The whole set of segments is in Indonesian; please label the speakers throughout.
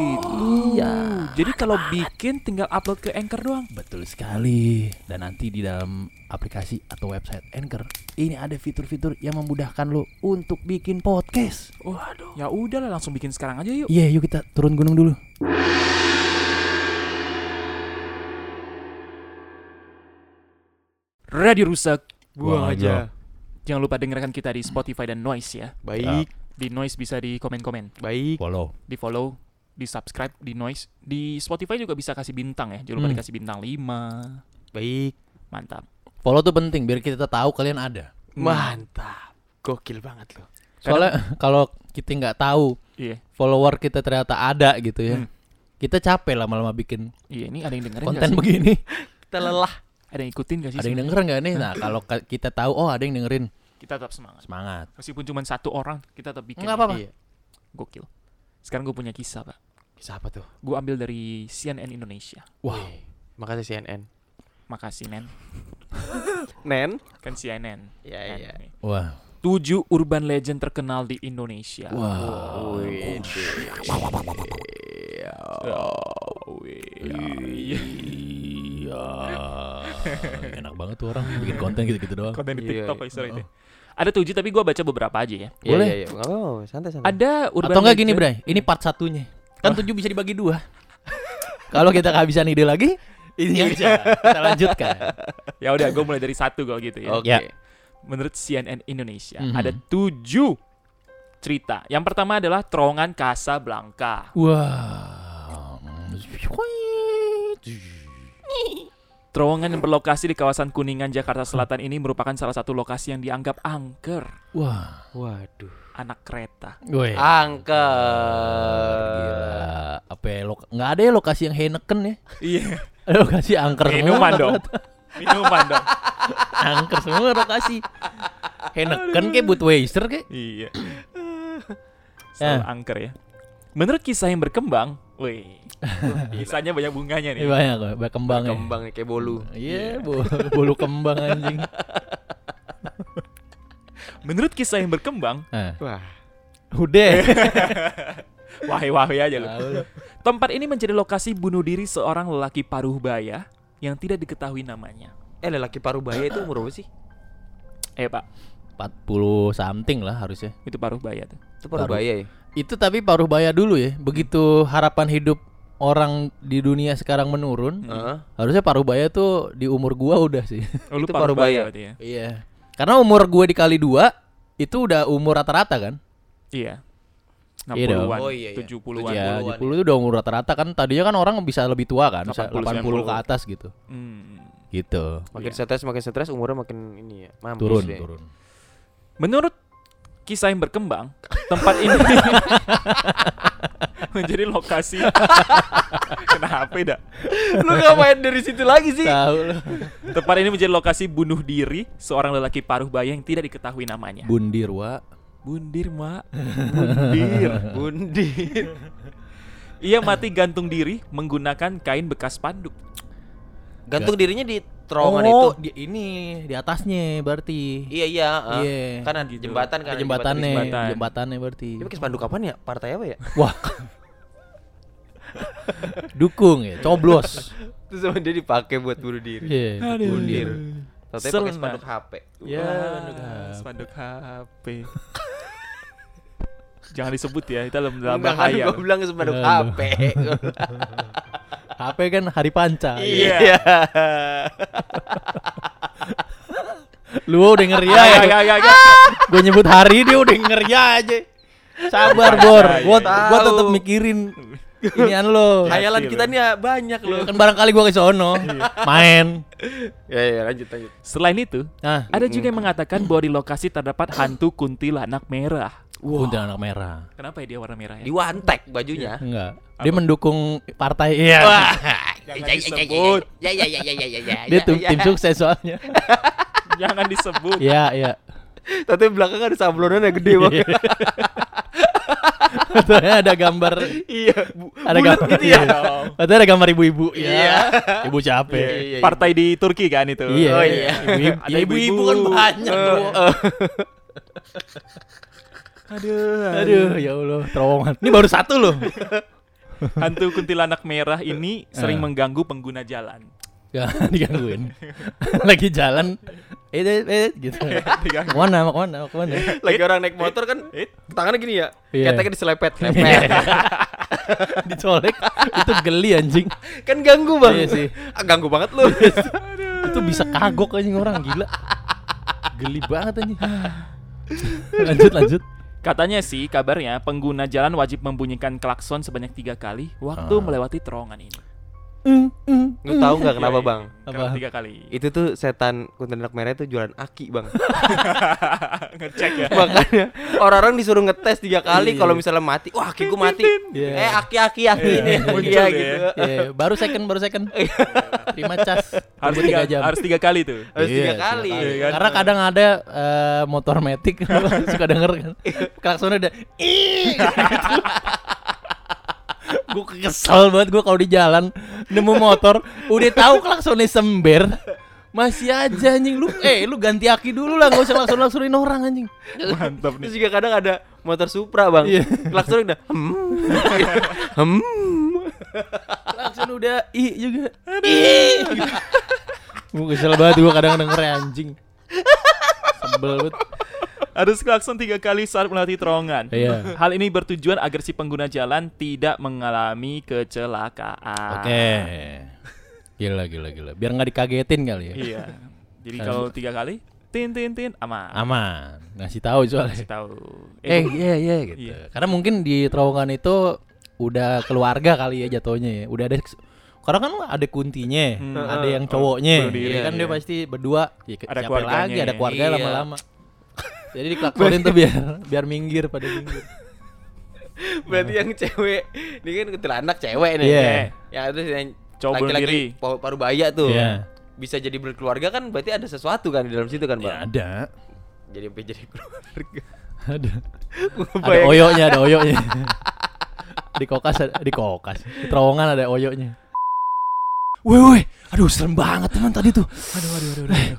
Speaker 1: gitu.
Speaker 2: Iya.
Speaker 1: Jadi kalau bikin tinggal upload ke Anchor doang.
Speaker 2: Betul sekali. Dan nanti di dalam aplikasi atau website Anchor, ini ada fitur-fitur yang memudahkan lo untuk bikin podcast.
Speaker 1: Waduh. Ya udahlah langsung bikin sekarang aja yuk.
Speaker 2: Iya, yuk kita turun gunung dulu.
Speaker 1: Radio rusak.
Speaker 2: Buang aja.
Speaker 1: Jangan lupa dengarkan kita di Spotify dan Noise ya.
Speaker 3: Baik,
Speaker 1: Di Noise bisa di komen-komen,
Speaker 3: baik.
Speaker 2: Follow.
Speaker 1: di follow, di subscribe, di Noise. Di Spotify juga bisa kasih bintang ya. Jangan lupa
Speaker 2: Hmm.
Speaker 1: dikasih bintang 5.
Speaker 3: Baik.
Speaker 1: Mantap.
Speaker 2: Follow tuh penting biar kita tahu kalian ada.
Speaker 3: Mantap. Gokil banget lu.
Speaker 2: Soalnya kalau kita nggak tahu
Speaker 1: Iya.
Speaker 2: follower kita ternyata ada gitu ya.
Speaker 1: Hmm.
Speaker 2: Kita capek lama-lama bikin
Speaker 1: Iya, ini ada yang dengerin nggak
Speaker 2: konten
Speaker 1: sih?
Speaker 2: begini.
Speaker 3: Kita lelah.
Speaker 1: Ada yang ikutin gak sih?
Speaker 2: Ada yang denger nggak nih? Nah, kalau ka- kita tahu, oh ada yang dengerin,
Speaker 1: Kita tetap semangat.
Speaker 2: semangat.
Speaker 1: Meskipun cuma satu orang, kita tetap bikin.
Speaker 2: Nggak apa-apa.
Speaker 3: Iya.
Speaker 1: Gokil. Sekarang gue punya kisah, Pak.
Speaker 3: Siapa tuh?
Speaker 1: Gue ambil dari CNN Indonesia.
Speaker 2: Wah,
Speaker 3: Wih, Makasih CNN.
Speaker 1: Makasih, Nen.
Speaker 3: Nen?
Speaker 1: Kan CNN.
Speaker 3: Iya,
Speaker 1: Nen.
Speaker 3: iya.
Speaker 2: wah,
Speaker 1: Tujuh urban legend terkenal di Indonesia.
Speaker 2: wah.
Speaker 3: Wih.
Speaker 1: Oh, iya.
Speaker 2: Iya, enak banget tuh orang bikin konten gitu-gitu doang.
Speaker 1: Konten di
Speaker 3: Iya,
Speaker 1: TikTok
Speaker 3: iya.
Speaker 1: lah istilahnya. Oh. Ada tujuh, tapi gue baca beberapa aja ya.
Speaker 2: Boleh.
Speaker 3: Iya, iya, iya. Nggak apa-apa, santai-santai.
Speaker 1: Ada urban
Speaker 2: Hmm. Atau enggak gini,
Speaker 1: legend-
Speaker 2: Bray? Ini part satunya. Kan tujuh bisa dibagi dua. Kalau kita kehabisan ide lagi, ini aja. Kita lanjutkan.
Speaker 1: Ya udah, gue mulai dari satu kalau gitu ya.
Speaker 3: Oke.
Speaker 2: Ya.
Speaker 1: Menurut CNN Indonesia,
Speaker 2: Mhm.
Speaker 1: ada tujuh cerita. Yang pertama adalah terowongan Casablanca.
Speaker 2: Wah.
Speaker 1: Terowongan yang berlokasi di kawasan Kuningan, Jakarta Selatan ini merupakan salah satu lokasi yang dianggap angker
Speaker 2: Wah.
Speaker 3: Waduh.
Speaker 1: anak kereta.
Speaker 2: Gue.
Speaker 3: Angker.
Speaker 2: Gila. Apa ya, lo- nggak ada ya lokasi yang Heineken ya?
Speaker 1: Iya.
Speaker 2: Lokasi angker semua.
Speaker 1: Minuman dong. Minuman dong.
Speaker 2: angker semua lokasi. Heineken kayak Budweiser kayak.
Speaker 1: Iya. Selalu
Speaker 2: Eh.
Speaker 1: angker ya. Menurut kisah yang berkembang, wih, kisahnya banyak bunganya nih.
Speaker 2: Ini banyak kok, banyak kembangnya.
Speaker 3: Kembang kayak bolu.
Speaker 2: Iya, bo- bulu kembang anjing.
Speaker 1: Menurut kisah yang berkembang,
Speaker 2: Nah,
Speaker 3: Wah.
Speaker 2: udah.
Speaker 1: wahai-wahai aja lu.
Speaker 2: Tahu lu.
Speaker 1: Tempat ini menjadi lokasi bunuh diri seorang lelaki paruh baya yang tidak diketahui namanya.
Speaker 3: Eh, lelaki paruh baya itu umur berapa sih?
Speaker 1: Eh pak,
Speaker 2: 40 something lah harusnya.
Speaker 1: itu paruh baya tuh.
Speaker 3: Itu paruh
Speaker 2: Paruh.
Speaker 3: baya ya?
Speaker 2: Itu tapi paruh baya dulu ya. Begitu harapan hidup orang di dunia sekarang menurun,
Speaker 3: Heeh.
Speaker 2: harusnya paruh baya tuh di umur gua udah sih.
Speaker 1: Oh, lu
Speaker 3: Itu
Speaker 1: paruh
Speaker 3: paruh baya.
Speaker 1: berarti ya?
Speaker 2: Iya. Karena umur gue dikali dua itu udah umur rata-rata kan?
Speaker 1: Iya.
Speaker 2: Iya dong.
Speaker 1: 60-an,
Speaker 3: Oh, iya, iya.
Speaker 1: 70-an.
Speaker 2: Iya, 70 itu
Speaker 3: 80-an
Speaker 2: udah umur rata-rata kan. Tadinya kan orang bisa lebih tua kan, bisa 80,
Speaker 1: 80, 90.
Speaker 2: ke atas gitu.
Speaker 1: Hmm.
Speaker 2: Gitu.
Speaker 3: Makin
Speaker 1: Iya.
Speaker 3: stres makin stres umurnya makin ini ya. Mampus
Speaker 2: Turun,
Speaker 3: deh.
Speaker 2: turun.
Speaker 1: Menurut kisah yang berkembang, tempat ini menjadi lokasi. Kenapa dah?
Speaker 3: Lu ngapain dari situ lagi sih?
Speaker 2: Tahu lu.
Speaker 3: Iya.
Speaker 1: Tempat ini menjadi lokasi bunuh diri seorang lelaki paruh baya yang tidak diketahui namanya.
Speaker 2: Bundirwa.
Speaker 1: Bundir, Mak. Bundir.
Speaker 3: Bundit.
Speaker 1: Ia mati gantung diri menggunakan kain bekas panduk.
Speaker 3: Gantung dirinya di terowongan itu.
Speaker 2: Di, ini di atasnya berarti.
Speaker 3: Oh. Iya iya. ah.
Speaker 2: Iya.
Speaker 3: Kan ada
Speaker 1: Gitu.
Speaker 3: jembatan kan.
Speaker 2: Ada
Speaker 3: ada
Speaker 2: jembatannya,
Speaker 3: jembatan.
Speaker 1: jembatan.
Speaker 2: jembatannya berarti.
Speaker 3: Dia pakai spanduk kapan ya? Partai apa ya?
Speaker 2: Wah. Dukung ya, coblos.
Speaker 3: Terus sama dia dipakai buat bunuh diri.
Speaker 2: Iya, bundir.
Speaker 3: Tapi
Speaker 1: Sel,
Speaker 3: pakai spanduk
Speaker 1: nah.
Speaker 3: HP.
Speaker 1: Ya,
Speaker 2: Wah,
Speaker 1: spanduk HP. Jangan disebut ya, itu dalam dalam
Speaker 3: Enggak kan
Speaker 1: bahaya.
Speaker 3: gua bilang spanduk
Speaker 2: Aduh.
Speaker 3: HP.
Speaker 2: HP kan hari panca.
Speaker 1: Iya.
Speaker 2: Lu udah ngeria ya.
Speaker 1: Agak, agak, agak.
Speaker 3: Ah!
Speaker 2: Gue nyebut hari dia udah ngeria aja. Sabar, Bor. Gua gua
Speaker 3: Tahu.
Speaker 2: tetap mikirin inian lo.
Speaker 3: Khayalan kita nih ya banyak loh.
Speaker 2: Kan barangkali gua ke sono. Main.
Speaker 3: Ya ya lanjut lanjut.
Speaker 1: Selain itu,
Speaker 2: Nah,
Speaker 1: ada juga yang mengatakan bahwa di lokasi terdapat hantu kuntilanak merah.
Speaker 3: Wah.
Speaker 2: Kuntilanak merah.
Speaker 1: Kenapa ya dia warna merah ya?
Speaker 3: Diwantek bajunya.
Speaker 2: Enggak. Dia mendukung partai iya.
Speaker 3: Jangan disebut.
Speaker 4: Ya ya ya ya ya ya ya.
Speaker 2: Dia
Speaker 3: Iya,
Speaker 2: tim, tim sukses soalnya.
Speaker 1: Jangan disebut.
Speaker 2: Iya, iya.
Speaker 3: Tapi belakang ada sablonannya gede banget.
Speaker 2: Katanya ada gambar
Speaker 3: iya, bu-
Speaker 2: ada
Speaker 3: bulat
Speaker 2: gambar
Speaker 3: gitu
Speaker 2: iya.
Speaker 3: ya.
Speaker 2: Katanya ada gambar ibu-ibu. Iya. Ibu capek.
Speaker 3: Iya, iya.
Speaker 1: Partai di Turki kan itu.
Speaker 2: Iya.
Speaker 3: Oh, iya.
Speaker 2: Ibu-
Speaker 1: Ada
Speaker 2: ya, ibu-ibu kan
Speaker 1: ibu-ibu.
Speaker 2: banyak,
Speaker 3: Eh,
Speaker 2: Bro.
Speaker 3: eh.
Speaker 1: Aduh.
Speaker 2: Aduh, ya Allah, terowongan. Ini baru satu loh.
Speaker 1: Hantu kuntilanak merah ini sering
Speaker 2: Eh.
Speaker 1: mengganggu pengguna jalan.
Speaker 2: Ya, digangguin. Lagi jalan eh eh, eh gitu. Mana, mana, mana.
Speaker 3: Lagi orang naik motor kan tangannya gini ya.
Speaker 2: Iya.
Speaker 3: Keteknya diselepet, lepet.
Speaker 2: Dicolek itu geli anjing.
Speaker 3: kan ganggu
Speaker 2: Iya
Speaker 3: banget.
Speaker 2: sih. Iya
Speaker 3: Ah, ganggu banget lu.
Speaker 2: itu bisa kagok anjing orang gila geli banget anjing lanjut lanjut
Speaker 1: Katanya sih kabarnya pengguna jalan wajib membunyikan klakson sebanyak tiga kali waktu
Speaker 2: Ah.
Speaker 1: melewati terowongan ini.
Speaker 2: Mm,
Speaker 3: lu tahu nggak
Speaker 2: Iya.
Speaker 3: kenapa, Bang?
Speaker 1: Kenapa
Speaker 2: Apa?
Speaker 1: tiga kali?
Speaker 3: Itu tuh setan kuntilanak merah itu jualan aki, Bang.
Speaker 1: Ngecek ya.
Speaker 3: Makanya orang-orang disuruh ngetes tiga kali kalau misalnya mati, wah aki gua mati.
Speaker 2: Iya.
Speaker 3: Eh aki-aki aki.
Speaker 2: Iya,
Speaker 1: muncul
Speaker 3: Iya
Speaker 1: deh.
Speaker 3: gitu.
Speaker 2: Iya, baru second baru second terima cas
Speaker 1: Harus
Speaker 2: Tunggu
Speaker 1: tiga,
Speaker 2: tiga jam
Speaker 1: harus tiga kali tuh.
Speaker 3: Harus
Speaker 2: Iya,
Speaker 3: tiga kali.
Speaker 1: kali. Iya kan?
Speaker 2: karena kadang ada eh, motor metik suka denger kan klaksonnya ada "Ih!" gitu. gue kesel banget gue kalau di jalan nemu motor udah tahu klaksonnya sember masih aja anjing lu eh lu ganti aki dulu lah gak usah langsung langsurin orang anjing
Speaker 1: Mantap
Speaker 3: Terus juga kadang ada motor Supra, Bang.
Speaker 2: Iya.
Speaker 3: Klakson udah hmm. hmm.
Speaker 2: Klakson udah i juga. I. Gue kesel banget gue kadang denger anjing. Sebel banget.
Speaker 1: Harus klakson tiga kali saat melewati terowongan.
Speaker 2: Iya.
Speaker 1: Hal ini bertujuan agar si pengguna jalan tidak mengalami kecelakaan.
Speaker 2: Oke. Gila gila gila. Biar nggak dikagetin kali ya.
Speaker 1: Iya. Jadi kalau tiga kali, tin tin tin, aman.
Speaker 2: Aman. Ngasih tahu
Speaker 1: Kasih
Speaker 2: soalnya.
Speaker 1: tahu.
Speaker 2: Eh
Speaker 1: Ah. Eh,
Speaker 2: iya iya gitu.
Speaker 1: Iya.
Speaker 2: Karena mungkin di terowongan itu udah keluarga kali ya jatuhnya ya. Udah ada karena kan ada kuntinya,
Speaker 1: Hmm.
Speaker 2: ada yang cowoknya,
Speaker 1: berdiri,
Speaker 2: ya kan
Speaker 1: iya.
Speaker 2: dia pasti berdua, ya,
Speaker 1: Ada
Speaker 2: siapa
Speaker 1: keluarganya
Speaker 2: lagi, ada
Speaker 1: ya.
Speaker 2: keluarga
Speaker 3: Iya.
Speaker 2: lama-lama. Jadi diklaksonin tuh biar biar minggir pada minggir.
Speaker 3: Berarti yang cewek, ini kan kuntilanak cewek nih.
Speaker 2: Iya.
Speaker 3: Ya terus yang
Speaker 1: Cowok bunuh diri.
Speaker 3: laki-laki pa- paruh baya tuh.
Speaker 2: Iya.
Speaker 3: Bisa jadi berkeluarga kan berarti ada sesuatu kan di dalam situ kan,
Speaker 1: Iya.
Speaker 2: Ya
Speaker 3: Bang.
Speaker 2: ada.
Speaker 3: Jadi sampai jadi keluarga.
Speaker 2: Ada. ada
Speaker 3: Bayangin.
Speaker 2: oyoknya, ada oyoknya. di kokas ada, di kokas. Di terowongan ada oyoknya. Woi woi, aduh serem banget teman tadi tuh.
Speaker 1: aduh aduh aduh. aduh, aduh.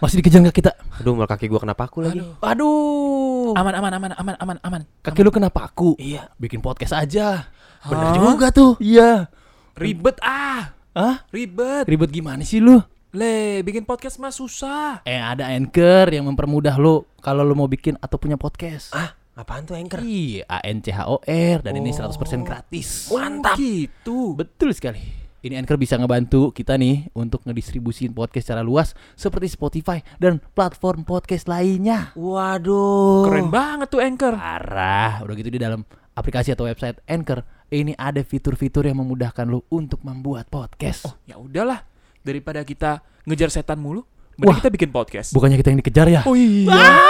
Speaker 2: Masih dikejar nggak kita?
Speaker 3: Aduh, mal kaki gua kenapa aku lagi?
Speaker 2: Aduh,
Speaker 1: Aman aman aman aman aman aman.
Speaker 2: kaki lu kenapa aku? Iya, bikin podcast aja. Bener juga tuh. Iya.
Speaker 1: Ribet ah,
Speaker 2: Hah?
Speaker 1: ribet.
Speaker 2: Ribet gimana sih lu?
Speaker 1: Le, bikin podcast mah susah.
Speaker 2: Eh ada Anchor yang mempermudah lu kalau lu mau bikin atau punya podcast.
Speaker 3: Ah, apaan tuh anchor?
Speaker 2: Iya, A N C H O R dan ini 100% gratis.
Speaker 1: Mantap. Oh, gitu.
Speaker 2: Betul sekali. Ini Anchor bisa ngebantu kita nih untuk ngedistribusin podcast secara luas seperti Spotify dan platform podcast lainnya.
Speaker 3: Waduh.
Speaker 1: Keren banget tuh Anchor.
Speaker 2: Parah, udah gitu di dalam aplikasi atau website Anchor ini ada fitur-fitur yang memudahkan lu untuk membuat podcast.
Speaker 1: Ya udahlah, daripada kita ngejar setan mulu, mending
Speaker 2: Wah.
Speaker 1: kita bikin podcast.
Speaker 2: Bukannya kita yang dikejar ya?
Speaker 1: Oh iya.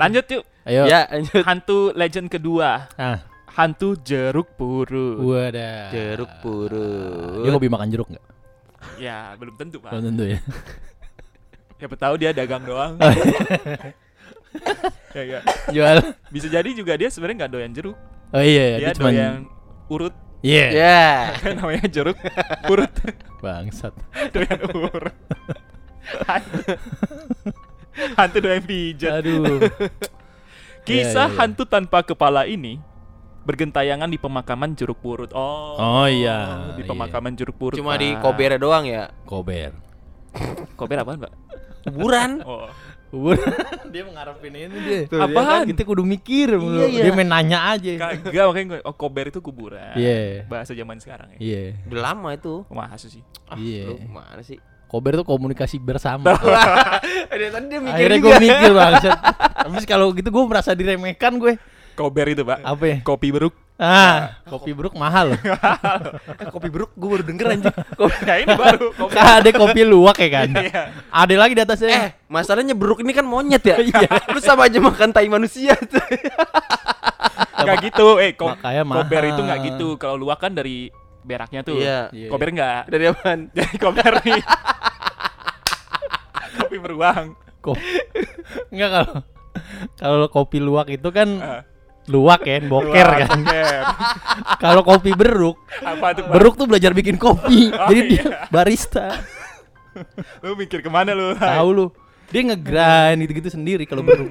Speaker 1: Lanjut yuk,
Speaker 2: Ayo.
Speaker 3: Ya, lanjut.
Speaker 1: hantu legend kedua,
Speaker 2: Ah,
Speaker 1: hantu jeruk purut.
Speaker 2: wadah.
Speaker 3: Jeruk
Speaker 2: Dia
Speaker 3: purut.
Speaker 2: hobi makan jeruk nggak?
Speaker 1: Ya, belum tentu, Pak.
Speaker 2: Belum tentu ya.
Speaker 1: Siapa tahu dia dagang doang. ya, ya.
Speaker 2: Jual.
Speaker 1: Bisa jadi juga dia sebenarnya nggak doyan jeruk.
Speaker 2: Oh iya,
Speaker 1: Dia
Speaker 2: dia cuma
Speaker 1: doyan urut.
Speaker 2: Iya.
Speaker 3: Ya.
Speaker 1: Kan namanya jeruk purut.
Speaker 2: Bangsat.
Speaker 1: doyan urut. Hantu. hantu doyan pijat.
Speaker 2: Aduh.
Speaker 1: Kisah
Speaker 2: Iya, iya, iya.
Speaker 1: hantu tanpa kepala ini bergentayangan di pemakaman Jeruk Purut. Oh.
Speaker 2: Oh, iya,
Speaker 1: Di
Speaker 2: iya.
Speaker 1: pemakaman Jeruk Purut.
Speaker 3: Cuma
Speaker 1: Pak.
Speaker 3: di Kobera doang ya.
Speaker 2: Kober.
Speaker 1: Kober apaan, Pak?
Speaker 3: Kuburan.
Speaker 1: Oh.
Speaker 2: dia mengharapin ini dia.
Speaker 3: Tuh,
Speaker 2: Apaan?
Speaker 1: dia kan,
Speaker 2: kita kudu mikir mulu.
Speaker 3: iya.
Speaker 2: Dia main nanya aja. Iya.
Speaker 1: Kagak makanya gue, oh, Kober itu kuburan.
Speaker 2: Iya.
Speaker 1: Bahasa zaman sekarang ya.
Speaker 2: Iya.
Speaker 3: Udah lama itu.
Speaker 1: Wah, asu sih.
Speaker 3: Ah,
Speaker 2: Iya.
Speaker 3: Lu mana sih?
Speaker 2: Kober tuh komunikasi bersama.
Speaker 3: Ada tadi dia mikir
Speaker 2: Akhirnya
Speaker 3: juga.
Speaker 2: gue mikir bangsat. Habis kalau gitu gue merasa diremehkan gue.
Speaker 1: Kober itu, Pak.
Speaker 2: Apa ya?
Speaker 1: Kopi beruk.
Speaker 2: Ah, kopi bruk mahal loh.
Speaker 3: Eh, kopi bruk gue baru denger anjing. Kopi-
Speaker 1: Nah ini baru kopi.
Speaker 2: Kan ada kopi luwak ya kan.
Speaker 1: Iya.
Speaker 2: Ada lagi di atasnya.
Speaker 3: Eh, masalahnya bruk ini kan monyet ya. Lu sama aja makan tai manusia tuh.
Speaker 1: Gak gitu, eh ko-
Speaker 2: Makanya
Speaker 1: kober
Speaker 2: mahal.
Speaker 1: itu gak gitu. Kalau luwak kan dari beraknya tuh.
Speaker 3: Iya.
Speaker 1: Kober nggak.
Speaker 3: Dari apaan?
Speaker 1: Dari kober nih. kopi beruang.
Speaker 2: Ko- Enggak kalau kalau kopi luwak itu kan
Speaker 1: Eh,
Speaker 2: luwak ya, boker
Speaker 1: luwak,
Speaker 2: kan.
Speaker 1: boker.
Speaker 2: Kalau kopi beruk,
Speaker 1: Apa tuh? Bang?
Speaker 2: beruk tuh belajar bikin kopi.
Speaker 1: Oh,
Speaker 2: Jadi dia
Speaker 1: iya.
Speaker 2: barista.
Speaker 1: Lu mikir kemana lu? Hmm.
Speaker 2: Tahu lu. Dia ngegrind gitu-gitu sendiri kalau beruk.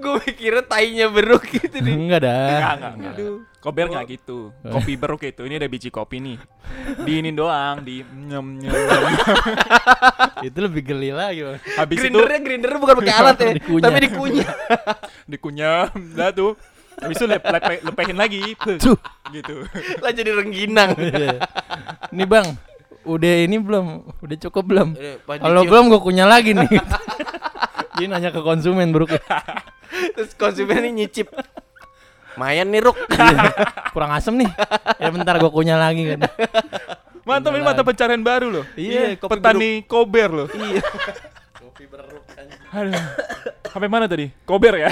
Speaker 3: Gue mikirnya tainya beruk gitu nih.
Speaker 2: Enggak
Speaker 1: Enggak,
Speaker 2: dah.
Speaker 1: enggak, enggak. Kober nggak gitu. Kopi beruk itu. Ini ada biji kopi nih. Diinin doang, di nyem nyem. nyem.
Speaker 2: Itu lebih geli lagi. Bang.
Speaker 1: Habis itu
Speaker 3: Grindernya grinder bukan pakai alat ya,
Speaker 2: Dikunyah.
Speaker 3: tapi dikunyah.
Speaker 1: dikunyah, dah tuh. Habis itu lep- lepe- lepehin lagi.
Speaker 2: Tuh.
Speaker 1: gitu.
Speaker 3: Lah jadi rengginang.
Speaker 2: Iya. Nih Bang, udah ini belum? Udah cukup belum?
Speaker 3: Udah, Eh, Pak
Speaker 2: Kalau
Speaker 3: Didi.
Speaker 2: belum gue kunyah lagi nih. Jadi nanya ke konsumen ya? beruk.
Speaker 3: Terus konsumen ini nyicip. Mayan nih Ruk.
Speaker 2: Iya. Kurang asem nih. Ya bentar gue kunyah lagi kan.
Speaker 1: Mantap ini mantap pencarian baru loh.
Speaker 3: Iya, kopi
Speaker 1: petani kober loh.
Speaker 3: Iya.
Speaker 1: Aduh. Sampai mana tadi? Kober ya.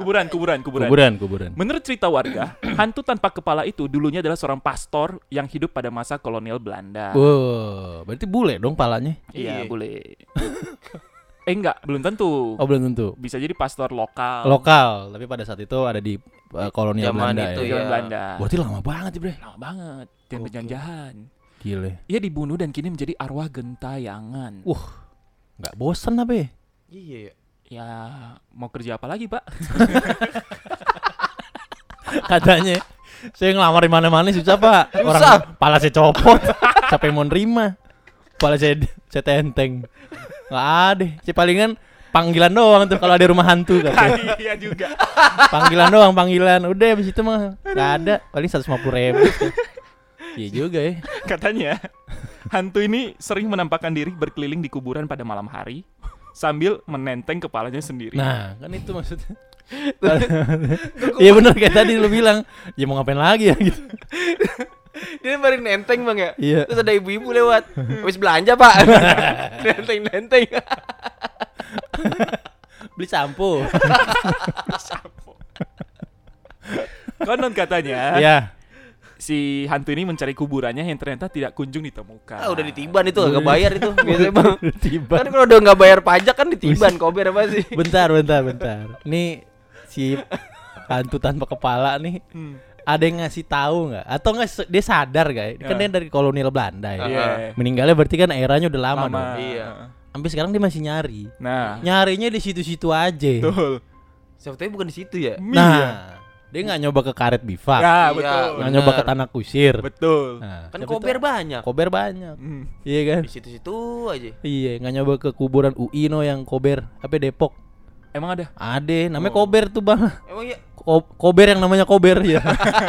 Speaker 1: kuburan, kuburan, kuburan.
Speaker 2: Kuburan, kuburan.
Speaker 1: Menurut cerita warga, hantu tanpa kepala itu dulunya adalah seorang pastor yang hidup pada masa kolonial Belanda.
Speaker 2: Oh, Wow, berarti bule dong palanya.
Speaker 3: Iya.
Speaker 1: Iya, boleh. eh enggak, belum tentu.
Speaker 2: Oh belum tentu.
Speaker 1: Bisa jadi pastor lokal.
Speaker 2: Lokal, tapi pada saat itu ada di uh, kolonial
Speaker 3: Zaman
Speaker 2: Belanda
Speaker 3: itu
Speaker 2: ya.
Speaker 3: ya.
Speaker 1: Kolonial Belanda.
Speaker 2: Berarti lama banget ya, Bre.
Speaker 1: iya. Lama banget dan
Speaker 2: Oke.
Speaker 1: penjajahan.
Speaker 2: Gile.
Speaker 1: Ia dibunuh dan kini menjadi arwah gentayangan.
Speaker 2: Wah, nggak bosen apa ya?
Speaker 3: Iya.
Speaker 1: Ya, mau kerja apa lagi, Pak?
Speaker 2: Katanya. Saya ngelamar di mana-mana susah, Pak. Orang
Speaker 3: Susah.
Speaker 2: pala saya copot. Siapa yang mau nerima? Pala saya, saya tenteng. Nggak ada. Saya palingan panggilan doang tuh kalau ada rumah hantu katanya.
Speaker 1: Iya juga.
Speaker 2: Panggilan doang, panggilan. Udah habis itu mah nggak ada. Paling 150 ribu. Iya juga ya.
Speaker 1: Katanya, hantu ini sering menampakkan diri berkeliling di kuburan pada malam hari sambil menenteng kepalanya sendiri.
Speaker 2: Nah, kan itu maksudnya. Iya bener kayak tadi lu bilang, ya mau ngapain lagi ya gitu.
Speaker 3: Dia baru nenteng bang ya.
Speaker 2: Iya.
Speaker 3: Terus ada ibu-ibu lewat. Habis belanja pak. Nenteng-nenteng.
Speaker 2: Beli sampo.
Speaker 1: Konon katanya,
Speaker 2: Iya.
Speaker 1: si hantu ini mencari kuburannya yang ternyata tidak kunjung ditemukan.
Speaker 3: Ah, udah ditiban itu agak bayar itu biasanya bang.
Speaker 2: Tiba.
Speaker 3: Kan kalau udah nggak bayar pajak kan ditiban kober apa sih?
Speaker 2: Bentar, bentar, bentar. Nih si hantu tanpa kepala nih
Speaker 1: Hmm.
Speaker 2: ada yang ngasih tahu nggak? Atau nggak se- dia sadar nggak? Kan
Speaker 1: Ya.
Speaker 2: dia dari kolonial Belanda ya.
Speaker 1: Iya.
Speaker 2: Meninggalnya berarti kan eranya udah lama,
Speaker 1: Lama.
Speaker 2: dong. Iya.
Speaker 3: Iya.
Speaker 2: Sampai sekarang dia masih nyari.
Speaker 1: Nah,
Speaker 2: Nyarinya di situ-situ aja.
Speaker 1: betul. Iya.
Speaker 3: Sebetulnya bukan di situ ya.
Speaker 2: Nah, dia nggak nyoba ke karet bifak,
Speaker 1: Ya,
Speaker 3: Iya.
Speaker 1: betul.
Speaker 2: nggak nyoba ke
Speaker 3: bener.
Speaker 2: tanah kusir.
Speaker 1: Betul.
Speaker 2: Nah,
Speaker 3: Kan
Speaker 2: siapa
Speaker 3: kober
Speaker 2: tahu?
Speaker 3: banyak.
Speaker 2: Kober banyak.
Speaker 1: Hmm.
Speaker 2: Iya kan?
Speaker 3: Di situ-situ aja.
Speaker 2: Iya, nggak nyoba ke kuburan UI no yang kober, apa Depok.
Speaker 1: Emang ada?
Speaker 2: Ade, namanya
Speaker 1: Oh.
Speaker 2: kober tuh bang.
Speaker 3: Emang ya
Speaker 2: Ko- kober yang namanya kober ya.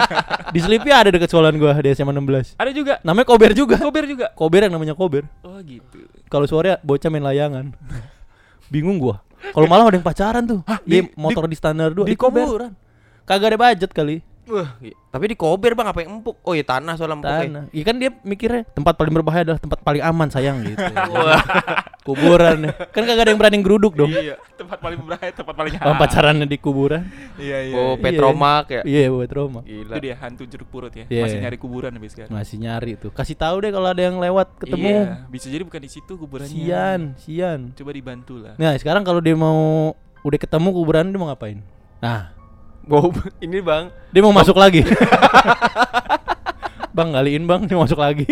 Speaker 2: di Selipi ada dekat sekolahan gua di SMA 16.
Speaker 1: Ada juga.
Speaker 2: Namanya kober juga.
Speaker 1: Kober juga.
Speaker 2: Kober yang namanya kober.
Speaker 1: Oh, gitu.
Speaker 2: Kalau sore bocah main layangan. Bingung gua. Kalau malam ada yang pacaran tuh. Dia
Speaker 1: di-
Speaker 2: motor di, standar dua
Speaker 1: di kober?
Speaker 2: kuburan. Kagak ada budget kali.
Speaker 3: Wah, iya. tapi di kober bang apa yang empuk? Oh ya tanah soalnya
Speaker 1: Hmm,
Speaker 3: empuk.
Speaker 2: Tanah. Iya kan dia mikirnya tempat paling berbahaya adalah tempat paling aman sayang gitu. kuburan. Kan kagak ada yang berani geruduk dong.
Speaker 1: Iya. Tempat paling berbahaya, tempat paling
Speaker 2: Orang pacarannya di kuburan.
Speaker 1: Iya,
Speaker 3: ya.
Speaker 1: iya.
Speaker 3: Oh
Speaker 2: Iya.
Speaker 3: Petromak ya.
Speaker 2: Iya, buat trauma.
Speaker 3: Gila.
Speaker 1: Itu dia hantu jeruk purut ya.
Speaker 2: Iya.
Speaker 1: Masih nyari kuburan habis kan? sekarang.
Speaker 2: Masih nyari tuh. Kasih tahu deh kalau ada yang lewat ketemu.
Speaker 1: Iya, bisa jadi bukan di situ kuburannya.
Speaker 2: Sian, sian.
Speaker 1: Coba dibantu lah.
Speaker 2: Nah sekarang kalau dia mau udah ketemu kuburan dia mau ngapain? Nah
Speaker 3: Bau ini bang.
Speaker 2: dia mau masuk lagi. bang galiin bang dia masuk lagi.